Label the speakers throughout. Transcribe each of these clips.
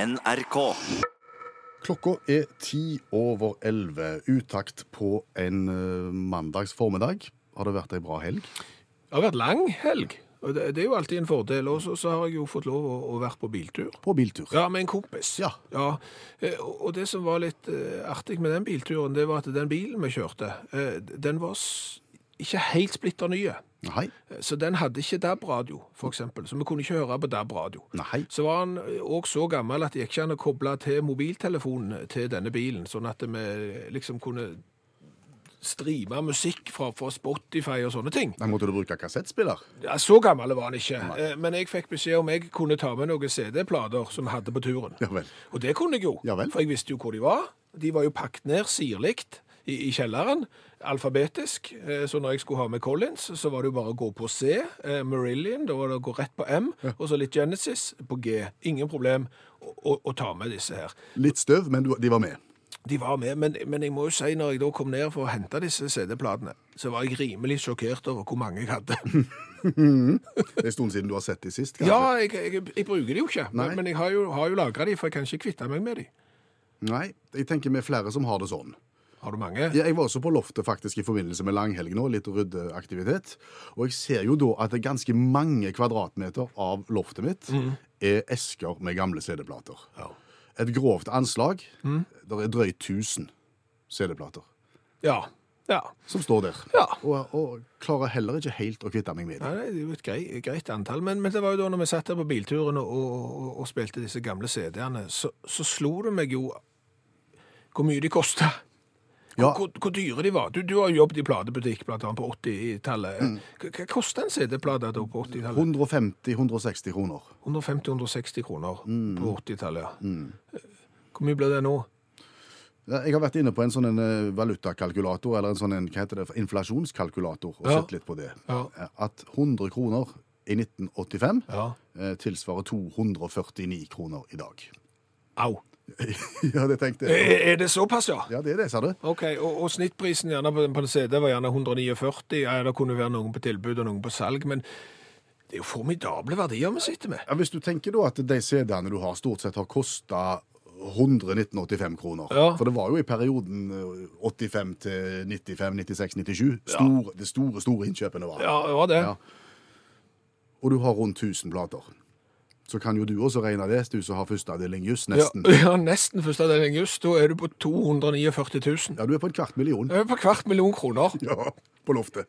Speaker 1: NRK.
Speaker 2: Klokka er ti over elleve. Utakt på en eh, mandags formiddag. Har det vært ei bra helg?
Speaker 3: Det har vært lang helg. og Det, det er jo alltid en fordel. Og så så har jeg jo fått lov å, å være på biltur.
Speaker 2: På biltur.
Speaker 3: Ja, med en kompis.
Speaker 2: Ja.
Speaker 3: Eh, Og og det som var litt eh, artig med den bilturen, det var at den bilen vi kjørte, eh, den var s- ikke helt splitter nye.
Speaker 2: Nei.
Speaker 3: Eh, Så den hadde ikke DAB-radio, for eksempel. Så vi kunne ikke høre på DAB-radio.
Speaker 2: Nei.
Speaker 3: Så var han òg så gammel at det gikk ikke an å koble til mobiltelefonen eh, til denne bilen, sånn at vi liksom kunne streame musikk fra, fra Spotify og sånne ting.
Speaker 2: Nei, måtte du bruke kassettspiller?
Speaker 3: Ja, så gammel var han ikke, Eh, men jeg fikk beskjed om jeg kunne ta med noen CD-plater som vi hadde på turen.
Speaker 2: Ja vel.
Speaker 3: Og det kunne jeg jo,
Speaker 2: Ja vel.
Speaker 3: for jeg visste jo hvor de var. De var jo pakket ned sirlikt i, i kjelleren, alfabetisk. Eh, Så når jeg skulle ha med Collins, så var det jo bare å gå på C, eh, Marillion, da var det å gå rett på M, og så litt Genesis på G. Ingen problem å, å, å ta med disse her.
Speaker 2: Litt støv, men du, de var med.
Speaker 3: De var med, men, men jeg må jo si, når jeg da kom ned for å hente disse CD-platene, så var jeg rimelig sjokkert over hvor mange jeg hadde.
Speaker 2: Det er en stund siden du har sett de sist. kanskje?
Speaker 3: Ja, jeg, jeg, jeg bruker de jo ikke,
Speaker 2: altså. Nei.
Speaker 3: men, men jeg har jo, har jo lagra de, for jeg kan ikke kvitte meg med de.
Speaker 2: Nei, jeg tenker vi er flere som har det sånn.
Speaker 3: Har du mange?
Speaker 2: Ja, Jeg var også på loftet faktisk i forbindelse med langhelg nå, litt ryddeaktivitet. Og jeg ser jo da at det er ganske mange kvadratmeter av loftet mitt er esker med gamle CD-plater. Et grovt anslag. Det er drøyt 1000 CD-plater
Speaker 3: Ja. ja.
Speaker 2: som står der.
Speaker 3: Ja.
Speaker 2: Og, og klarer heller ikke helt å kvitte meg med
Speaker 3: Nei,
Speaker 2: dem.
Speaker 3: nei, det er jo et greit, greit antall, men, men det var jo da når vi satt der på bilturen og, og, og, og spilte disse gamle CD-ene, så, så slo det meg jo hvor mye de kosta.
Speaker 2: Ja,
Speaker 3: Hvor, hvor dyre de var. Du, du har jo jobbet i platebutikk blant annet på 80-tallet.
Speaker 2: Mm.
Speaker 3: Hva- Hva kosta en CD-plate da på 80-tallet?
Speaker 2: 150-160 kroner.
Speaker 3: 150-160 kroner
Speaker 2: Mm.
Speaker 3: på 80-tallet. ja. Hvor mye blir det nå?
Speaker 2: Ja, Jeg har vært inne på en sånn en eh, valutakalkulator, eller en sånn en, hva heter det, inflasjonskalkulator, og
Speaker 3: Ja.
Speaker 2: sett litt på det.
Speaker 3: Ja.
Speaker 2: Eh, At 100 kroner i 1985
Speaker 3: Ja.
Speaker 2: eh, tilsvarer 249 kroner i dag.
Speaker 3: Au. Eh,
Speaker 2: ja, det tenkte jeg.
Speaker 3: Er, er det såpass, ja?
Speaker 2: Ja, det er det, sa du.
Speaker 3: Ok, og, og snittprisen gjerne på, på en CD var gjerne 149. Ja, det kunne være noen på tilbud og noen på salg, men det er jo formidable verdier vi sitter med.
Speaker 2: Ja, hvis du tenker da at de CD-ene du har stort sett har kosta 100 1985 kroner.
Speaker 3: Ja.
Speaker 2: For det var jo i perioden eh, 85 til 95, 96, 97. Stor, Det store, store innkjøpene var.
Speaker 3: Ja, ja det.
Speaker 2: Ja. Og du har rundt 1000 plater. Så kan jo du også regne det, du som har førsteavdeling juss,
Speaker 3: Ja,
Speaker 2: nesten.
Speaker 3: ja, nesten første avdeling just. Da er du på 249 000.
Speaker 2: Ja, du er på en kvart million.
Speaker 3: Det er På hvert million kroner
Speaker 2: Ja, på loftet.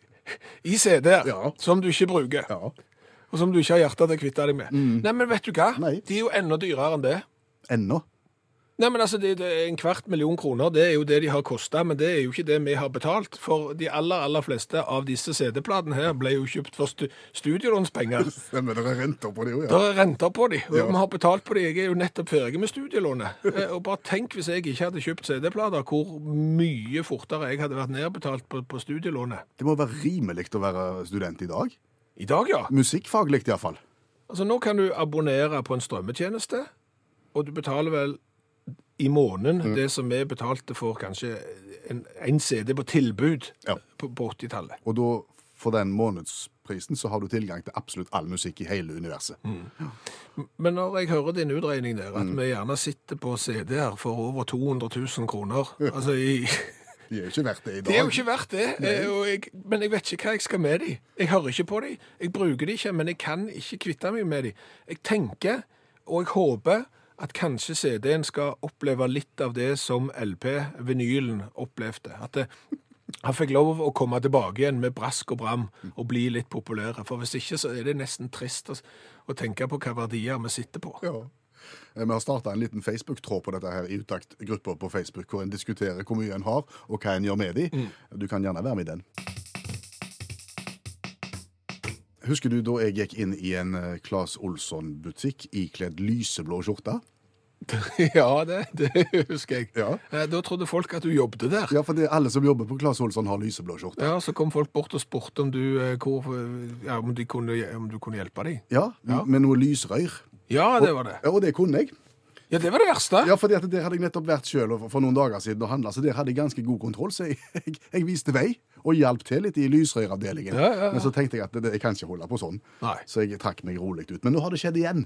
Speaker 3: i CD-er
Speaker 2: Ja.
Speaker 3: som du ikke bruker,
Speaker 2: Ja. Mm.
Speaker 3: og som du ikke har hjerte til å kvitte deg med. Nei, men vet du hva?
Speaker 2: Nei.
Speaker 3: De er jo enda dyrere enn det.
Speaker 2: Ennå.
Speaker 3: Nei, men altså, det, det, er En kvart million kroner det er jo det de har kosta, men det er jo ikke det vi har betalt. For de aller aller fleste av disse CD-platene her ble jo kjøpt for stu studielånspenger.
Speaker 2: Stemmer, det er renter på det òg,
Speaker 3: Det er renter på de, og
Speaker 2: Ja.
Speaker 3: vi har betalt på de. Jeg er jo nettopp ferdig med studielånet. Eh, Og bare tenk hvis jeg ikke hadde kjøpt CD-plater, hvor mye fortere jeg hadde vært nedbetalt på, på studielånet.
Speaker 2: Det må være rimelig å være student i dag.
Speaker 3: I dag, ja.
Speaker 2: Musikkfaglig iallfall.
Speaker 3: Altså, Nå kan du abonnere på en strømmetjeneste, og du betaler vel i måneden det som vi betalte for kanskje en, en CD på tilbud
Speaker 2: Ja.
Speaker 3: på, på 80-tallet.
Speaker 2: Og da, for den månedsprisen, så har du tilgang til absolutt all musikk i hele universet.
Speaker 3: Men når jeg hører din utregning der, at vi gjerne sitter på CD-er for over 200 000 kroner altså i,
Speaker 2: De er jo ikke verdt det i dag.
Speaker 3: Det er jo ikke verdt det, eh, og jeg, men jeg vet ikke hva jeg skal med de. Jeg hører ikke på de, jeg bruker de ikke, men jeg kan ikke kvitte meg med de. Jeg tenker, og jeg håper, at kanskje CD-en skal oppleve litt av det som LP-vinylen opplevde. At det, han fikk lov å komme tilbake igjen med brask og bram og bli litt populære. For hvis ikke, så er det nesten trist å, å tenke på hva verdier vi sitter på.
Speaker 2: Ja. Eh, Vi har starta en liten Facebook-tråd på dette her i utaktgruppa på Facebook, hvor en diskuterer hvor mye en har, og hva en gjør med de.
Speaker 3: Mm.
Speaker 2: Du kan gjerne være med i den. Husker du da jeg gikk inn i en eh, Claes Olsson-butikk ikledd lyseblå skjorte?
Speaker 3: Ja, det, det husker jeg.
Speaker 2: Ja.
Speaker 3: Eh, Da trodde folk at du jobbet der.
Speaker 2: Ja, for det er alle som jobber på Claes Olsson, har lyseblå skjorte.
Speaker 3: Ja, så kom folk bort og spurte om du, eh, hvor, ja, om de kunne, om du kunne hjelpe dem.
Speaker 2: Ja,
Speaker 3: Ja.
Speaker 2: med noe lysrøyr.
Speaker 3: Ja, det var det.
Speaker 2: Ja, og det kunne jeg.
Speaker 3: Ja, det var det verste.
Speaker 2: Ja, for der hadde jeg nettopp vært sjøl for noen dager siden og handla, så der hadde jeg ganske god kontroll, så jeg, jeg, jeg viste vei og hjalp til litt i lysrøyravdelingen.
Speaker 3: Ja, ja, ja.
Speaker 2: Men så tenkte jeg at det, det, jeg kan ikke holde på sånn,
Speaker 3: Nei.
Speaker 2: så jeg trakk meg rolig ut. Men nå har det skjedd igjen.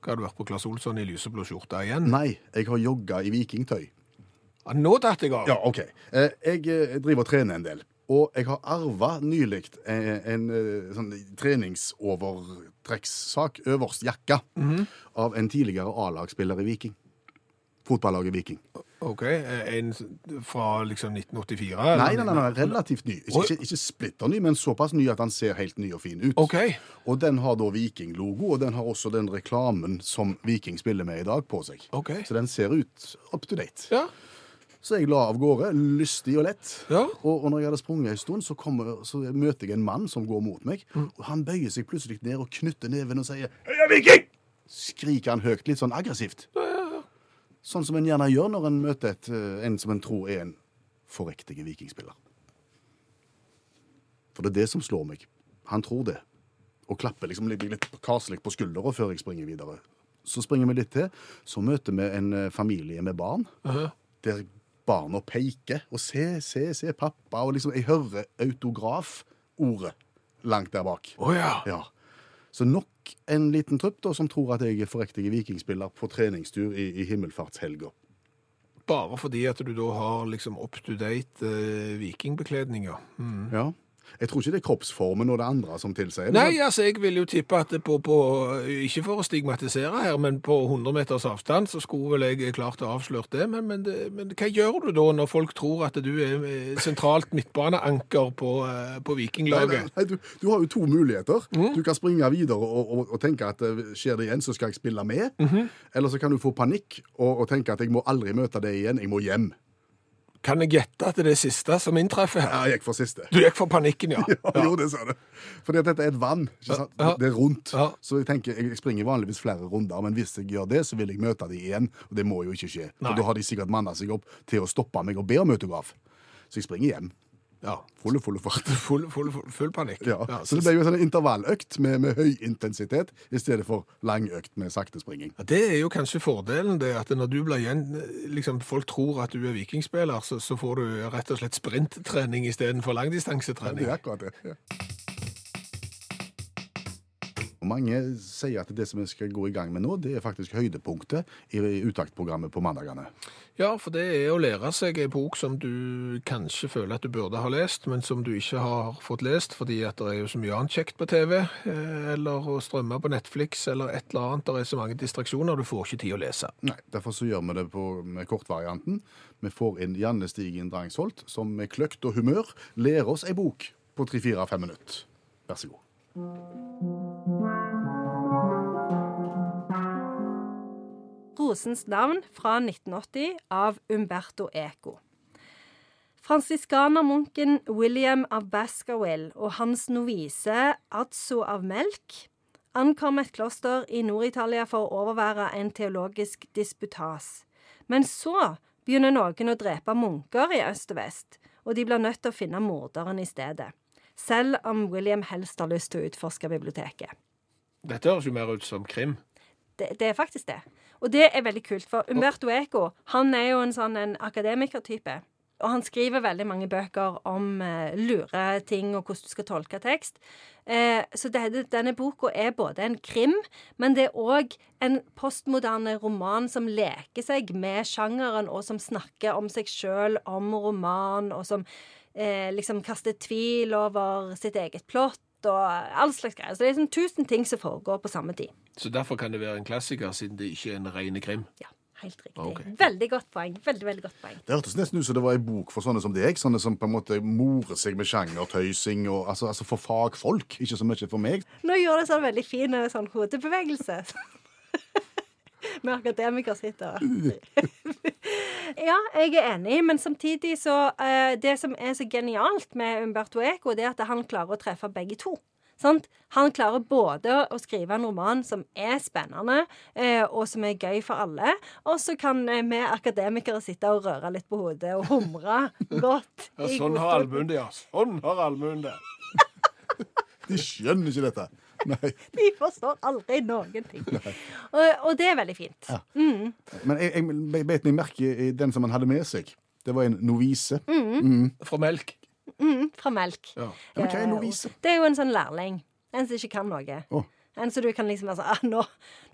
Speaker 3: Hva har du vært på Claes Olsson i lyseblå skjorte igjen?
Speaker 2: Nei, jeg har jogga i vikingtøy.
Speaker 3: Ja, nå datt jeg av.
Speaker 2: Ja, OK. Eh, Jeg eh, driver og trener en del. Og jeg har arva nylig en, en eh, sånn treningsovertrekkssak, øverst jakka,
Speaker 3: Mhm.
Speaker 2: av en tidligere A-lagsspiller i Viking. Fotballaget Viking.
Speaker 3: OK. eh, En fra liksom 1984? eller?
Speaker 2: Nei, nei, nei, nei relativt ny. Ikke, ikke, ikke splitter ny, men såpass ny at han ser helt ny og fin ut.
Speaker 3: OK.
Speaker 2: Og den har da Viking-logo, og den har også den reklamen som Viking spiller med i dag, på seg.
Speaker 3: ok.
Speaker 2: Så den ser ut up to date.
Speaker 3: Ja.
Speaker 2: Så jeg la av gårde, lystig og lett.
Speaker 3: Ja.
Speaker 2: Og, og når jeg hadde sprunget en stund, så, kommer, så møter jeg en mann som går mot meg. Og han bøyer seg plutselig ned og knytter neven og sier «Heia viking!» Skriker han høyt, litt sånn aggressivt. Sånn som en gjerne gjør når en møter et, eh, en som en tror er en forrektige vikingspiller. For det er det som slår meg. Han tror det. Og klapper liksom litt, litt kaselig på skulderen før jeg springer videre. Så springer vi litt til, så møter vi en eh, familie med barn der barna peker og se, se, se, pappa, og liksom, jeg hører autograf-ordet langt der bak.
Speaker 3: Å ja.
Speaker 2: Ja. Så nok en liten trupp da, som tror at jeg er forrektige vikingspiller på treningstur i, i himmelfartshelga.
Speaker 3: Bare fordi at du da har liksom up to date eh, vikingbekledninger. Mm.
Speaker 2: Ja. Jeg tror ikke det er kroppsformen og det andre som tilsier det.
Speaker 3: Nei, altså, jeg vil jo tippe at på, på Ikke for å stigmatisere her, men på 100 meters avstand så skulle vel jeg klart å avsløre det. Men, men, det- men hva gjør du da når folk tror at du er eh, sentralt midtbaneanker på, eh, på
Speaker 2: Nei, nei,
Speaker 3: Vikinglaget?
Speaker 2: nei, du, du har jo to muligheter. Du kan springe videre og, og, og tenke at eh, skjer det igjen, så skal jeg spille med. Eller så kan du få panikk og, og tenke at jeg må aldri møte det igjen, jeg må hjem.
Speaker 3: Kan jeg gjette at det er det siste som inntreffer her?
Speaker 2: Ja, jeg gikk for siste.
Speaker 3: Du gikk for panikken, ja.
Speaker 2: Ja, Jo, det sa du. Fordi at dette er et vann. Ikke sant?
Speaker 3: Ja.
Speaker 2: Det er rundt.
Speaker 3: Ja.
Speaker 2: Så jeg tenker, jeg springer vanligvis flere runder, men hvis jeg gjør det, så vil jeg møte dem igjen. Og det må jo ikke skje.
Speaker 3: Nei.
Speaker 2: For da har de sikkert manna seg opp til å stoppe meg og be om autograf. Så jeg springer hjem.
Speaker 3: ja.
Speaker 2: Fulle, fulle fart.
Speaker 3: Full, full, full, full panikk.
Speaker 2: Ja.
Speaker 3: Ja,
Speaker 2: Så det ble jo en sånn intervalløkt med, med høy intensitet i stedet for lang økt med sakte springing.
Speaker 3: Ja, Det er jo kanskje fordelen, det at når du blir igjen, liksom folk tror at du er vikingspiller, så, så får du rett og slett sprinttrening istedenfor langdistansetrening.
Speaker 2: Det er akkurat det. Ja. Og Mange sier at det som vi skal gå i gang med nå, det er faktisk høydepunktet i utaktprogrammet på mandagene.
Speaker 3: Ja, for det er å lære seg en bok som du kanskje føler at du burde ha lest, men som du ikke har fått lest, fordi at det er jo så mye annet kjekt på TV, eh, eller å strømme på Netflix, eller et eller annet. Det er så mange distraksjoner, du får ikke tid å lese.
Speaker 2: Nei, Derfor så gjør vi det på, med kortvarianten. Vi får inn Janne Stigen Drangsholt, som med kløkt og humør lærer oss ei bok på tre-fire-fem minutter. Vær så god.
Speaker 1: Rosens navn fra 1980 av Umberto Eco. Fransiskanermunken William av Baskerville og hans novise Adso av Melk ankom et kloster i Nord-Italia for å overvære en teologisk disputas. Men så begynner noen å drepe munker i øst og vest, og de blir nødt til å finne morderen i stedet. Selv om William helst har lyst til å utforske biblioteket.
Speaker 3: Dette høres jo mer ut som krim.
Speaker 1: Det, det er faktisk det. Og det er veldig kult, for Umberto Eco han er jo en sånn en akademikertype. Og han skriver veldig mange bøker om eh, lure ting og hvordan du skal tolke tekst. Eh, så det, det- denne boka er både en krim, men det er òg en postmoderne roman som leker seg med sjangeren, og som snakker om seg sjøl, om roman, og som eh, liksom kaster tvil over sitt eget plott og all slags greier. Så det er sånn tusen ting som foregår på samme tid.
Speaker 3: Så derfor kan det være en klassiker, siden det ikke er en rene krim.
Speaker 1: Ja, helt riktig.
Speaker 3: Ok.
Speaker 1: Veldig godt poeng. Veldig, veldig godt poeng.
Speaker 2: Det hørtes nesten ut som det var ei bok for sånne som deg. Sånne som på en måte morer seg med sjangertøysing. og- Altså, altså for fagfolk, ikke så mye for meg.
Speaker 1: Nå gjør det sånn veldig fin eh, sånn hodebevegelse. Med akademiker sitter og Ja, jeg er enig, men samtidig så eh, Det som er så genialt med Umberto Eco, det er at han klarer å treffe begge to. Sant? Han klarer både å skrive en roman som er spennende, eh, og som er gøy for alle, og så kan eh, vi akademikere sitte og røre litt på hodet og humre godt.
Speaker 3: Ja,
Speaker 1: i
Speaker 3: sånn
Speaker 1: god
Speaker 3: har
Speaker 1: stund.
Speaker 3: allmuen det, ja. Sånn har allmuen det.
Speaker 2: De skjønner ikke dette. Nei.
Speaker 1: De forstår aldri noen ting. Og, og det er veldig fint.
Speaker 2: Men jeg, jeg bet meg merke i den som han hadde med seg. Det var en novise.
Speaker 3: Fra melk.
Speaker 1: Fra melk. Eh,
Speaker 3: Ja.
Speaker 2: Ja, men hva er en novise?
Speaker 1: Det er jo en sånn lærling. En som ikke kan noe.
Speaker 2: Å.
Speaker 1: En så du kan liksom være sånn ah, nå.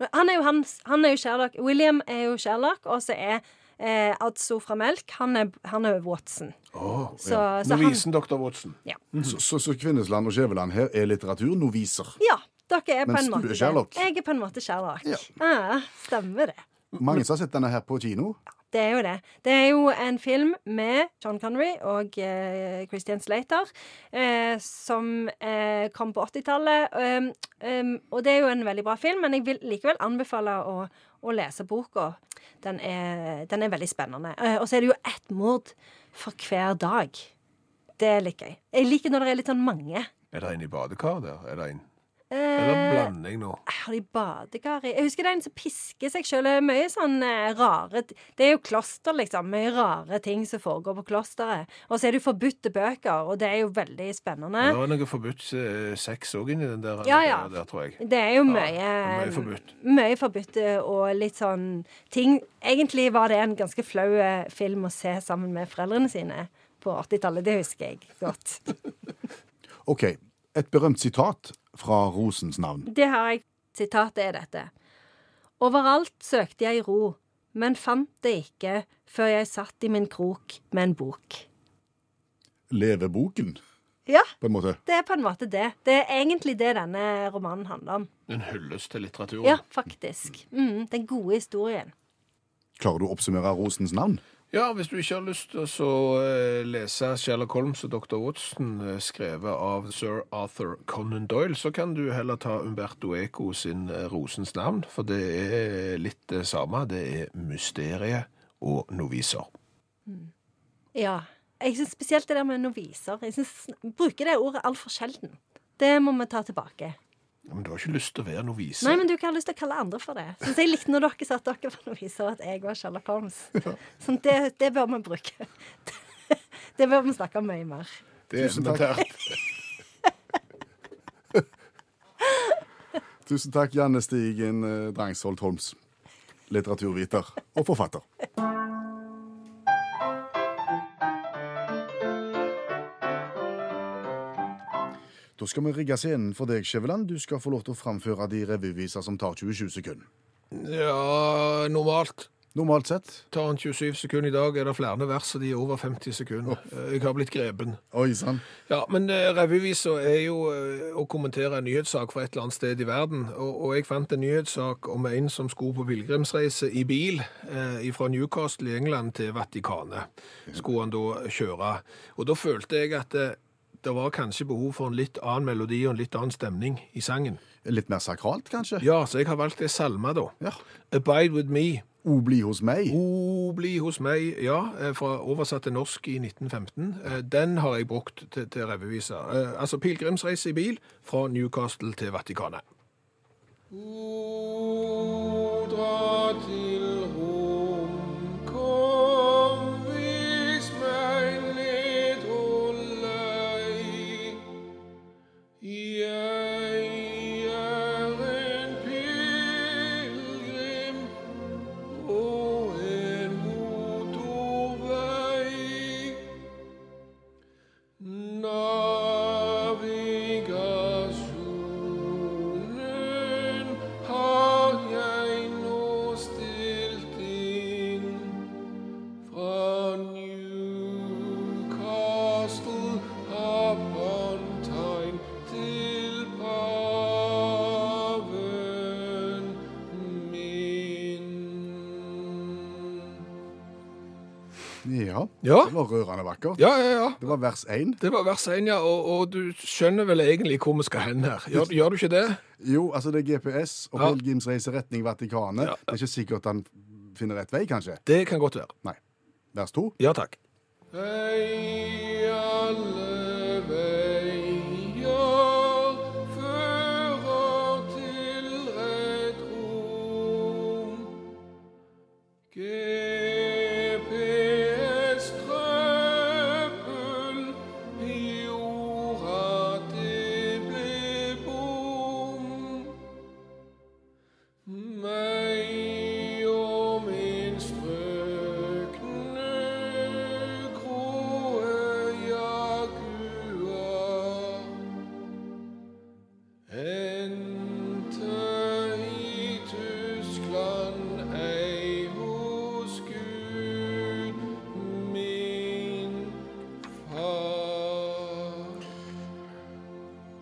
Speaker 1: nå- Han er jo hans, han er jo Sherlock. William er jo Sherlock, og så er eh, Adso fra Melk, han er, han er Watson.
Speaker 2: Åh,
Speaker 1: Så,
Speaker 2: ja.
Speaker 1: så han
Speaker 3: Novisen, doktor Watson.
Speaker 1: ja.
Speaker 2: så, så, så Kvinnesland og Skjæveland her er litteraturnoviser.
Speaker 1: ja. Dere er på
Speaker 2: Mens du
Speaker 1: en måte
Speaker 2: er Sherlock.
Speaker 1: det. Jeg er på en måte Sherlock.
Speaker 2: Ja.
Speaker 1: Ah, stemmer det.
Speaker 2: Mange som har sett denne her på kino.
Speaker 1: Det er jo det. Det er jo en film med John Connery og eh, Christian Slater eh, som eh, kom på 80-tallet. Um, um, og det er jo en veldig bra film, men jeg vil likevel anbefale å, å lese boka. Den er, den er veldig spennende. Eh, og så er det jo ett mord for hver dag. Det liker jeg. Jeg liker når det er litt sånn mange.
Speaker 3: Er det en i badekar der? Er det en? Eller en
Speaker 1: Eh,
Speaker 3: blanding nå?
Speaker 1: har de badekar i Jeg husker det er en som pisker seg sjøl. Mye sånn eh, rare t- Det er jo kloster, liksom. Mye rare ting som foregår på klosteret. Og så er det jo forbudte bøker, og det er jo veldig spennende.
Speaker 3: Det var noe forbudt eh, sex òg inni den der, eh,
Speaker 1: Ja, ja.
Speaker 3: der, tror jeg.
Speaker 1: Det er jo mye
Speaker 3: mye forbudt.
Speaker 1: mye forbudt, eh, og litt sånn ting Egentlig var det en ganske flau eh, film å se sammen med foreldrene sine på 80-tallet. Det husker jeg godt.
Speaker 2: OK. Et berømt sitat fra Rosens navn.
Speaker 1: Det har jeg. Sitatet er dette. Overalt søkte jeg ro, men fant det ikke før jeg satt i min krok med en bok.
Speaker 2: Leveboken,
Speaker 1: Ja,
Speaker 2: på en måte.
Speaker 1: det er på en måte det. Det er egentlig det denne romanen handler om.
Speaker 3: En hyllest til litteraturen.
Speaker 1: Ja, faktisk. Mm, den gode historien.
Speaker 2: Klarer du å oppsummere Rosens navn?
Speaker 3: Ja, hvis du ikke har lyst til å så, eh, lese Sherlock Holmes og Dr. Watson, eh, skrevet av sir Arthur Conan Doyle, så kan du heller ta Umberto Eco sin eh, Rosens navn, for det er eh, litt det samme. Det er mysterie og noviser.
Speaker 1: Ja. Jeg syns spesielt det der med noviser. Jeg synes, bruker det ordet altfor sjelden. Det må vi ta tilbake.
Speaker 3: Ja, Men du har ikke lyst til å være novise.
Speaker 1: Nei, men du kan ha lyst til å kalle andre for det. Syns jeg likte når dere sa at dere var noviser, og at jeg var Sherlock Holmes. Sånn, det, det bør vi bruke. Det bør vi snakke om mye mer.
Speaker 3: det er
Speaker 2: Tusen takk.
Speaker 3: elementært.
Speaker 2: Tusen takk, Janne Stigen eh, Drangsholt Holms. Litteraturviter og forfatter. Da skal vi rigge scenen for deg, Skjæveland. Du skal få lov til å framføre de revyviser som tar 27 sekunder.
Speaker 3: Ja, normalt.
Speaker 2: Normalt sett.
Speaker 3: Tar en 27 sekunder i dag, er det flere vers, og de er over 50 sekunder. Eh, Jeg har blitt grepen.
Speaker 2: Oi sann.
Speaker 3: Ja, men eh, revyvisa er jo eh, å kommentere en nyhetssak fra et eller annet sted i verden. Og, og jeg fant en nyhetssak om en som skulle på pilegrimsreise i bil eh, fra Newcastle i England til Vatikanet. Skulle han da kjøre. Og da følte jeg at eh, det var kanskje behov for en litt annen melodi og en litt annen stemning i sangen.
Speaker 2: Litt mer sakralt, kanskje?
Speaker 3: Ja, så jeg har valgt ei salme, da.
Speaker 2: Ja.
Speaker 3: Abide with me.
Speaker 2: O bli hos meg.
Speaker 3: O, bli hos meg, ja, eh, fra oversatt til norsk i 1915. Eh, Den har jeg brukt til, til revevisa. Eh, Altså pilegrimsreise i bil fra Newcastle til Vatikanet. O, dra til Rom, kom, vis meg ned og lei. Jeg er en pilegrim og en motorvei. Navigasjonen har jeg nå stilt inn fra Newcastle upon Tyne til paven min.
Speaker 2: Ja.
Speaker 3: Ja.
Speaker 2: Det var rørende vakkert.
Speaker 3: Ja, ja, ja.
Speaker 2: Det var vers én.
Speaker 3: Det var vers 1, ja. Og, og du skjønner vel egentlig hvor vi skal hen her. Gjør, gjør du ikke det?
Speaker 2: Jo, altså det er GPS og
Speaker 3: Ja.
Speaker 2: pilegrimsreise retning Vatikanet.
Speaker 3: Ja.
Speaker 2: Det er ikke sikkert han finner rett vei, kanskje.
Speaker 3: Det kan godt være.
Speaker 2: Nei. Vers to.
Speaker 3: Ja takk. Hei, alle veier fører til et rom. GPS-trøbbel gjorde at det ble bom. Meg og min strøkne kroe jaguar endte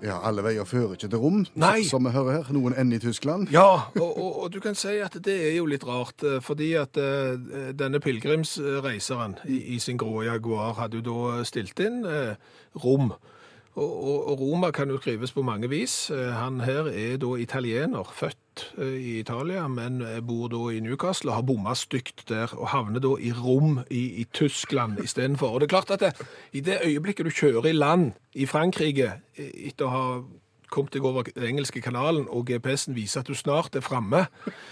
Speaker 2: Ja, alle veier fører ikke til rom,
Speaker 3: Nei.
Speaker 2: som vi hører her. Noen ender i Tyskland.
Speaker 3: Ja, og, og, og du kan si at det er jo litt rart, eh, fordi at eh, denne pilegrimsreiseren i, i sin grå Jaguar hadde jo da stilt inn eh, Rom. Og, og, og Roma kan jo skrives på mange vis. Eh, Han her er da italiener, født eh, i Italia, men eh, bor da i Newcastle og har bomma stygt der, og havner da i Rom i, i Tyskland istedenfor. Og det er klart at det, i det øyeblikket du kjører i land i Frankrike eh, etter å ha kom deg over den engelske kanalen, og GPS-en viser at du snart er framme,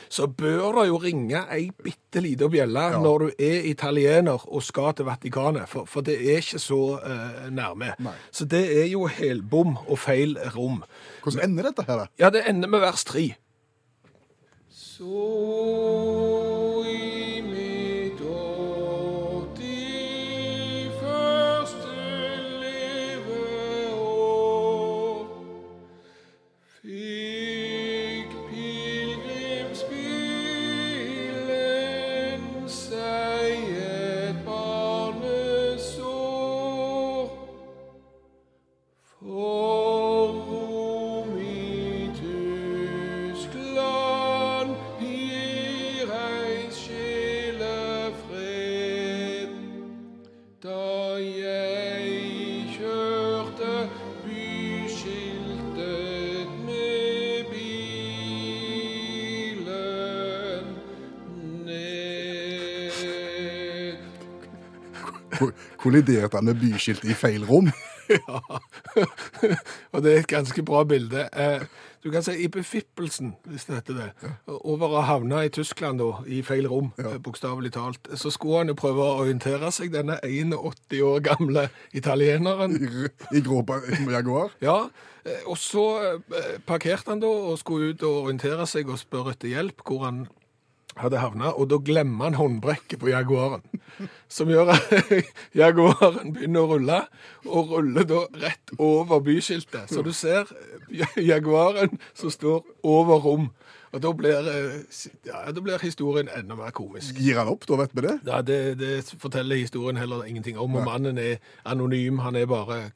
Speaker 3: så bør det jo ringe ei bitte lita bjelle når du er italiener og skal til Vatikanet, for, for det er ikke så eh, nærme. Så det er jo helbom og feil rom.
Speaker 2: Hvordan ender dette her, da?
Speaker 3: Ja, det ender med vers tre.
Speaker 4: For Rom i Tyskland gir ei sjelefred. Da jeg kjørte byskiltet med bilen ned.
Speaker 2: Ko- Kolliderte han med byskiltet i feil rom?
Speaker 3: og det er et ganske bra bilde. Eh, du kan si i befippelsen, hvis det heter det, over å havne i Tyskland da, i feil rom, ja. bokstavelig talt, så skulle han jo prøve å orientere seg, denne 81 år gamle italieneren.
Speaker 2: I, r- i grå pa- Jaguar?
Speaker 3: Ja, eh, og så eh, parkerte han da og skulle ut og orientere seg og spørre etter hjelp hvor han hadde havnet, og da glemmer han håndbrekket på Jaguaren, som gjør at Jaguaren begynner å rulle, og ruller da rett over byskiltet. Så du ser eh, Jaguaren som står over rom, og da blir, eh, si- ja, da blir historien enda mer komisk.
Speaker 2: Gir han opp, da vet vi det?
Speaker 3: Ja, det, det forteller historien heller ingenting om. Og mannen er anonym. Han er bare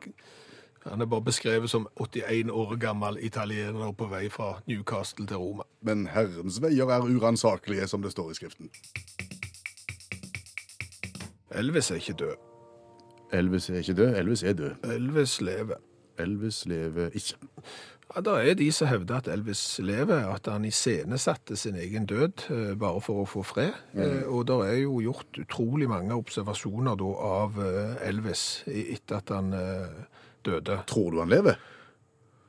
Speaker 3: han er bare beskrevet som 81 år gammel italiener på vei fra Newcastle til Roma.
Speaker 2: Men Herrens veier er uransakelige, som det står i Skriften.
Speaker 3: Elvis er ikke død.
Speaker 2: Elvis er ikke død. Elvis er død.
Speaker 3: Elvis lever.
Speaker 2: Elvis lever ikke.
Speaker 3: Ja, Da er de som hevder at Elvis lever, at han iscenesatte sin egen død eh, bare for å få fred. Eh, og det er jo gjort utrolig mange observasjoner da av eh, Elvis i- etter at han eh, døde.
Speaker 2: Tror du han lever?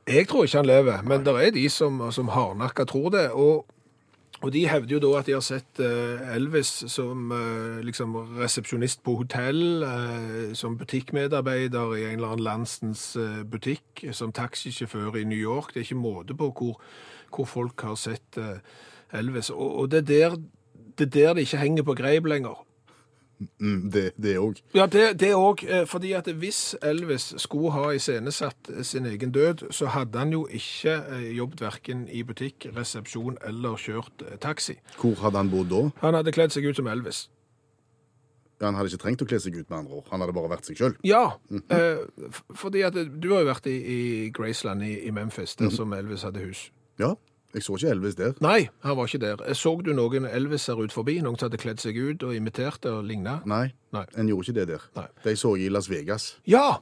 Speaker 3: Jeg tror ikke han lever, men det er de som, som hardnakka tror det. Og, og de hevder jo da at de har sett eh, Elvis som eh, liksom resepsjonist på hotell, eh, som butikkmedarbeider i en eller annen landsens eh, butikk, som taxisjåfør i New York. Det er ikke måte på hvor, hvor folk har sett eh, Elvis. Og, og det, er der, det er der det ikke henger på greip lenger.
Speaker 2: Mm, det òg.
Speaker 3: Ja, det, det òg. eh, Fordi at hvis Elvis skulle ha iscenesatt sin egen død, så hadde han jo ikke eh, jobbet verken i butikk, resepsjon eller kjørt eh, taxi.
Speaker 2: Hvor hadde han bodd da?
Speaker 3: Han hadde kledd seg ut som Elvis.
Speaker 2: Ja, Han hadde ikke trengt å kle seg ut, med andre ord. Han hadde bare vært seg sjøl.
Speaker 3: Ja, eh, f- fordi at du har jo vært i, i Graceland i, i Memphis,
Speaker 2: Mhm.
Speaker 3: der som Elvis hadde hus.
Speaker 2: Ja, jeg så ikke Elvis der.
Speaker 3: Nei, han var ikke der. Eh, Så du noen Elviser ut forbi? Noen som hadde kledd seg ut og imitert og ligna?
Speaker 2: Nei,
Speaker 3: Nei.
Speaker 2: en gjorde ikke det der.
Speaker 3: Nei.
Speaker 2: De så jeg i Las Vegas.
Speaker 3: Ja!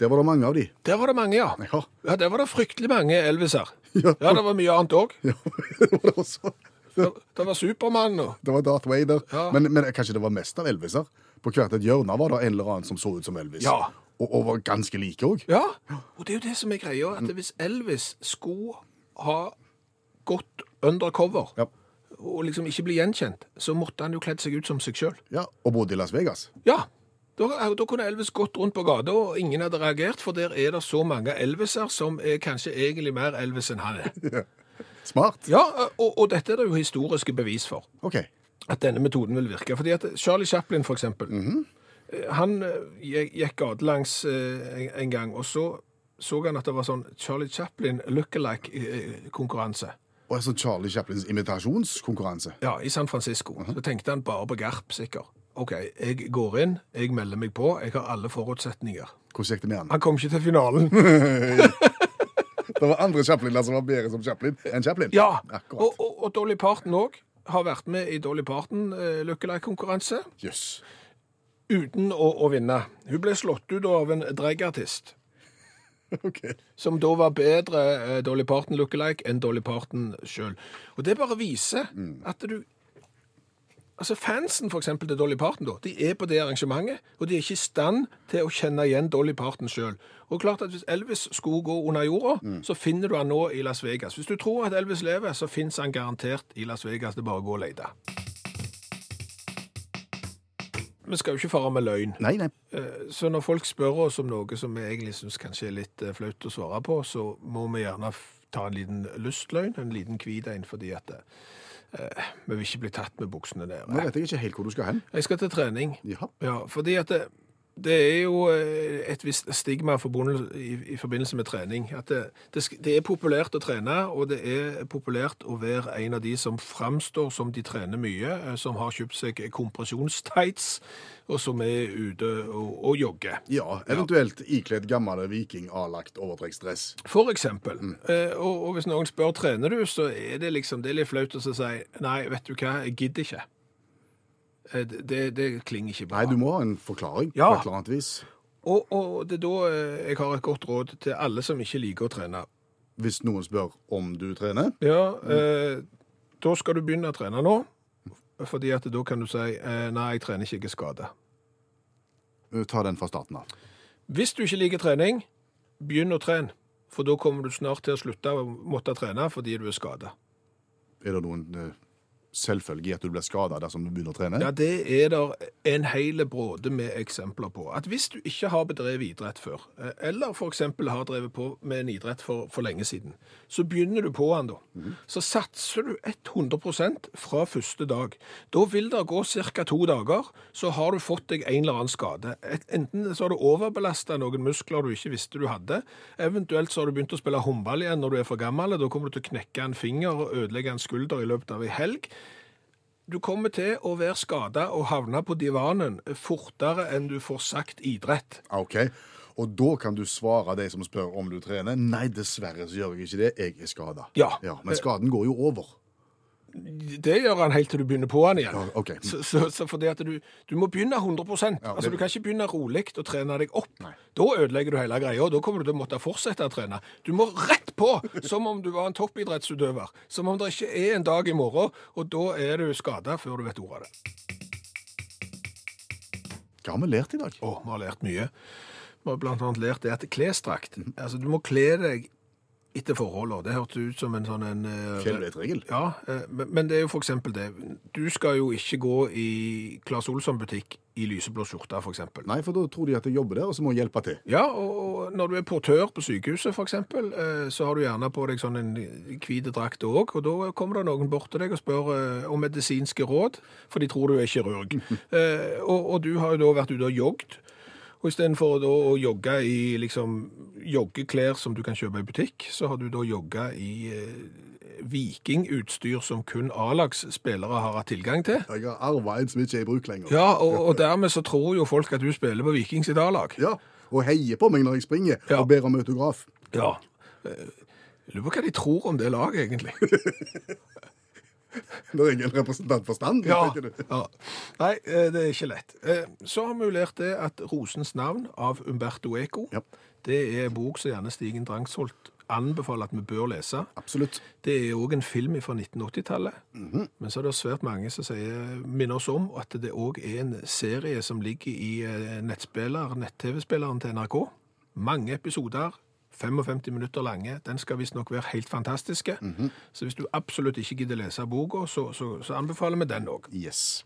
Speaker 2: Der var det mange av de.
Speaker 3: Der var det mange, ja.
Speaker 2: Ja,
Speaker 3: Ja, Der var det fryktelig mange Elviser.
Speaker 2: Ja.
Speaker 3: Ja, det var mye annet òg.
Speaker 2: ja. det var det også.
Speaker 3: Det det var Supermann og
Speaker 2: Det var Darth Vader.
Speaker 3: Ja.
Speaker 2: Men, men kanskje det var mest av Elviser? På hvert et hjørne var det en eller annen som så ut som Elvis.
Speaker 3: Ja.
Speaker 2: Og, og var ganske like òg.
Speaker 3: Ja, Mm. og det er jo det som er greia, at hvis Elvis skulle ha gått undercover,
Speaker 2: Ja.
Speaker 3: og liksom ikke bli gjenkjent, så måtte han jo kledd seg ut som seg sjøl.
Speaker 2: Ja, og bodde i Las Vegas.
Speaker 3: Ja, da, da kunne Elvis gått rundt på gata, og ingen hadde reagert, for der er det så mange Elviser som er kanskje egentlig mer Elvis enn han er.
Speaker 2: Smart.
Speaker 3: Ja, og, og dette er det jo historiske bevis for.
Speaker 2: OK.
Speaker 3: at denne metoden vil virke. Fordi at Charlie Chaplin, for eksempel, eh, han eh, gikk gikk gatelangs eh, en- en gang, og så så han at det var sånn Charlie Chaplin eh, look-alike-konkurranse.
Speaker 2: Og en sånn Charlie Chaplins imitasjonskonkurranse.
Speaker 3: Ja, i San Francisco. Så tenkte han bare på Garp, sikkert. OK, jeg går inn, jeg melder meg på, jeg har alle forutsetninger.
Speaker 2: Hvordan gikk det med han?
Speaker 3: Han kom ikke til finalen.
Speaker 2: Det var andre Chapliner som var bedre som Chaplin enn Chaplin.
Speaker 3: Ja, og,
Speaker 2: Akkurat.
Speaker 3: og, og Dolly Parton òg har vært med i Dolly Parton eh, lookalike-konkurranse
Speaker 2: Jøss.
Speaker 3: uten å, å vinne. Hun ble slått ut av en dragartist,
Speaker 2: OK.
Speaker 3: som da var bedre eh, Dolly Parton lookalike enn Dolly Parton sjøl. Og det bare viser at du Altså Fansen for eksempel, til Dolly Parton da, de er på det arrangementet, og de er ikke i stand til å kjenne igjen Dolly Parton sjøl. Klart at hvis Elvis skulle gå under jorda, så finner du han nå i Las Vegas. Hvis du tror at Elvis lever, så fins han garantert i Las Vegas. Det er bare å gå og lete. Vi skal jo ikke fare med løgn.
Speaker 2: Nei, nei.
Speaker 3: Eh, Så når folk spør oss om noe som vi egentlig syns kanskje er litt eh, flaut å svare på, så må vi gjerne f- ta en liten lystløgn, en liten hvit en, fordi at eh, vi vil ikke bli tatt med buksene
Speaker 2: Nå
Speaker 3: nede.
Speaker 2: vet jeg ikke helt hvor du skal hen.
Speaker 3: Jeg skal til trening.
Speaker 2: Ja.
Speaker 3: Ja, fordi at det, det er jo eh, et visst stigma forbundet i, i forbindelse med trening. At det, det, sk- det er populært å trene, og det er populært å være en av de som framstår som de trener mye, eh, som har kjøpt seg kompresjonstights, og som er ute og, og jogger.
Speaker 2: Ja, eventuelt ikledd gammel viking-avlagt overtrekksdress.
Speaker 3: For eksempel. Eh, og, og hvis noen spør trener du, så er det liksom det er litt flaut å så si nei, vet du hva, jeg gidder ikke. Eh, det, det, det klinger ikke bra.
Speaker 2: Nei, du må ha en forklaring
Speaker 3: Ja.
Speaker 2: på et eller annet vis.
Speaker 3: og, og det er da eh, jeg har et godt råd til alle som ikke liker å trene.
Speaker 2: Hvis noen spør om du trener.
Speaker 3: Ja, eh, da skal du begynne å trene nå. Fordi at da kan du si eh, nei, jeg trener ikke, jeg er skada.
Speaker 2: eh, Ta den fra starten av.
Speaker 3: Hvis du ikke liker trening, begynn å trene. For da kommer du snart til å slutte å måtte trene fordi du er skada.
Speaker 2: Er det noen eh, selvfølge i at du blir skada dersom du begynner å trene?
Speaker 3: Ja, det er der en hel bråde med eksempler på. At hvis du ikke har bedrevet idrett før, eh, eller f.eks. har drevet på med en idrett for, for lenge siden, så begynner du på den da. Så satser du 100 fra første dag. Da vil det gå ca. to dager, så har du fått deg en eller annen skade. Et- Enten så har du overbelasta noen muskler du ikke visste du hadde, eventuelt så har du begynt å spille håndball igjen når du er for gammel, og da kommer du til å knekke en finger og ødelegge en skulder i løpet av ei helg. Du kommer til å være skada og havne på divanen fortere enn du får sagt idrett.
Speaker 2: Ah, OK. Og da kan du svare de som spør om du trener. Nei, dessverre så gjør jeg ikke det. Jeg er skada.
Speaker 3: Ja.
Speaker 2: men skaden går jo over.
Speaker 3: Det gjør han helt til du begynner på han igjen.
Speaker 2: Ja, ok.
Speaker 3: Så, så, så fordi at du, du må begynne 100 Altså Du kan ikke begynne rolig og trene deg opp. Da ødelegger du hele greia, og da kommer du til å måtte fortsette å trene. Du må rett på, som om du var en toppidrettsutøver. Som om det ikke er en dag i morgen, og da er du skada før du vet ordet av det.
Speaker 2: Hva har vi lært i dag?
Speaker 3: Å, vi har lært mye. Vi har blant annet lært det at klesdrakt Altså, du må kle deg etter forholdene. Det hørtes ut som en sånn en eh,
Speaker 2: Fjellvettregel.
Speaker 3: Ja, eh, men men det er jo for eksempel det. Du skal jo ikke gå i Claes Olsson-butikk i lyseblå skjorte, for eksempel.
Speaker 2: Nei, for da tror de at jeg jobber der, og så må jeg hjelpe til.
Speaker 3: Ja, og og når du er portør på sykehuset, for eksempel, eh, så har du gjerne på deg sånn en hvite drakt òg, og da kommer det noen bort til deg og spør eh, om medisinske råd, for de tror du er kirurg. Eh, Og, og du har jo da vært ute og jogget, og istedenfor da å jogge i liksom joggeklær som du kan kjøpe i butikk, så har du da jogga i eh, vikingutstyr som kun A-lagsspillere har hatt tilgang til.
Speaker 2: Jeg har arva en som ikke er i bruk lenger.
Speaker 3: Ja, og, og dermed så tror jo folk at du spiller på Viking sitt A-lag.
Speaker 2: Ja, Og heier på meg når jeg springer
Speaker 3: Ja.
Speaker 2: og ber om autograf.
Speaker 3: Ja. Eh, Jeg lurer på hva de tror om det laget, egentlig.
Speaker 2: Når jeg er en representant for standen. tenker du.
Speaker 3: ja. Nei, eh, det er ikke lett. Eh, Så har vi jo lært det at Rosens navn av Umberto Eco,
Speaker 2: Ja.
Speaker 3: det er en bok som gjerne Stigen Drangsholt anbefaler at vi bør lese.
Speaker 2: Absolutt.
Speaker 3: Det er òg en film fra 1980-tallet. Men så er det svært mange som sier, minner oss om at det òg er en serie som ligger i eh, nettspiller, nett-TV-spilleren til NRK. Mange episoder. 55 minutter lange. Den skal visstnok være helt fantastiske. Så hvis du absolutt ikke gidder lese boka, så, så, så anbefaler vi den òg.
Speaker 2: Yes.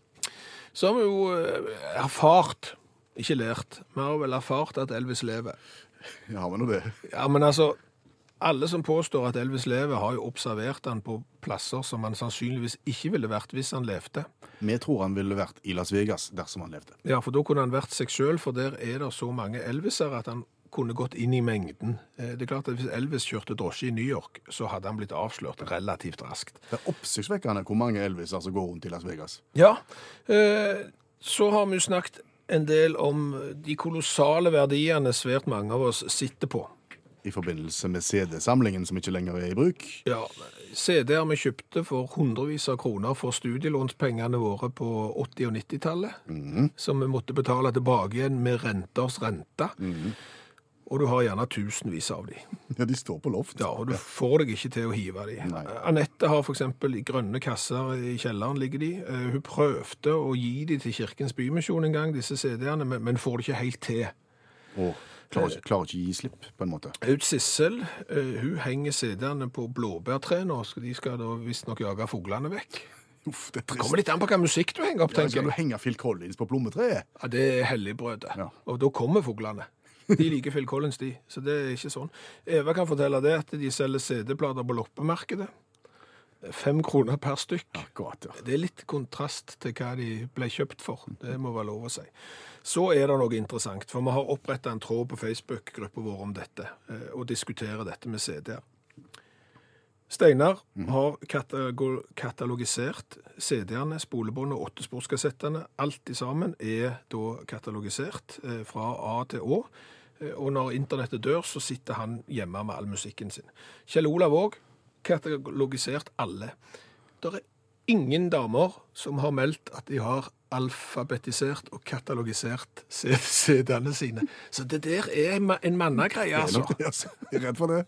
Speaker 3: Så har vi jo eh, erfart, ikke lært, vi har vel erfart at Elvis lever.
Speaker 2: Ja, har vi nå det.
Speaker 3: Ja, men altså, alle som påstår at Elvis lever, har jo observert han på plasser som han sannsynligvis ikke ville vært hvis han levde.
Speaker 2: Vi tror han ville vært i Las Vegas dersom han levde.
Speaker 3: Ja, for da kunne han vært seg sjøl, for der er det så mange Elviser at han kunne gått inn i mengden. Eh, Det er klart at Hvis Elvis kjørte drosje i New York, så hadde han blitt avslørt relativt raskt.
Speaker 2: Det er oppsiktsvekkende hvor mange Elviser som går rundt i Las Vegas.
Speaker 3: Ja. Eh, Så har vi jo snakket en del om de kolossale verdiene svært mange av oss sitter på.
Speaker 2: I forbindelse med CD-samlingen som ikke lenger er i bruk.
Speaker 3: Ja, CD-er vi kjøpte for hundrevis av kroner for studielånspengene våre på 80- og 90-tallet, som vi måtte betale tilbake igjen med renters rente. Og du har gjerne tusenvis av de.
Speaker 2: Ja, de står på loft.
Speaker 3: Ja, og du får deg ikke til å hive de.
Speaker 2: Nei.
Speaker 3: Anette har for eksempel i grønne kasser i kjelleren ligger de. Eh, Hun prøvde å gi de til Kirkens Bymisjon en gang, disse CD-ene, men- men får det ikke helt til.
Speaker 2: Og klarer ikke, klarer ikke å gi slipp, på en måte.
Speaker 3: Aud Sissel, eh, hun henger CD-ene på blåbærtre nå, så de skal da visstnok jage fuglene vekk.
Speaker 2: Uff, det er
Speaker 3: Det kommer
Speaker 2: trist.
Speaker 3: litt an på hva musikk du henger opp,
Speaker 2: Ja,
Speaker 3: tenker
Speaker 2: skal du
Speaker 3: jeg.
Speaker 2: henge Phil Collins på plommetreet?
Speaker 3: Ja, det er helligbrødet.
Speaker 2: Ja.
Speaker 3: Og da kommer fuglene. De liker Phil Collins, de. Så det er ikke sånn. Eva kan fortelle det at de selger CD-plater på loppemarkedet. Fem kroner per stykk.
Speaker 2: Akkurat, ja.
Speaker 3: Det er litt kontrast til hva de ble kjøpt for. Det må være lov å si. Så er det noe interessant, for vi har oppretta en tråd på Facebook-gruppa vår om dette, eh, og diskuterer dette med CD-er. Steinar
Speaker 2: Mhm.
Speaker 3: har katalogo- katalogisert CD-ene, spolebåndet og åttesporskassettene. Alt i sammen er da katalogisert eh, fra A til Å. Eh, Og når internettet dør, så sitter han hjemme med all musikken sin. Kjell Olav òg katalogisert alle. Det er ingen damer som har meldt at de har alfabetisert og katalogisert CD-ene sine. Så det der er en ma- en mannagreie,
Speaker 2: Det er
Speaker 3: altså.
Speaker 2: nok det, altså. Jeg er redd for det.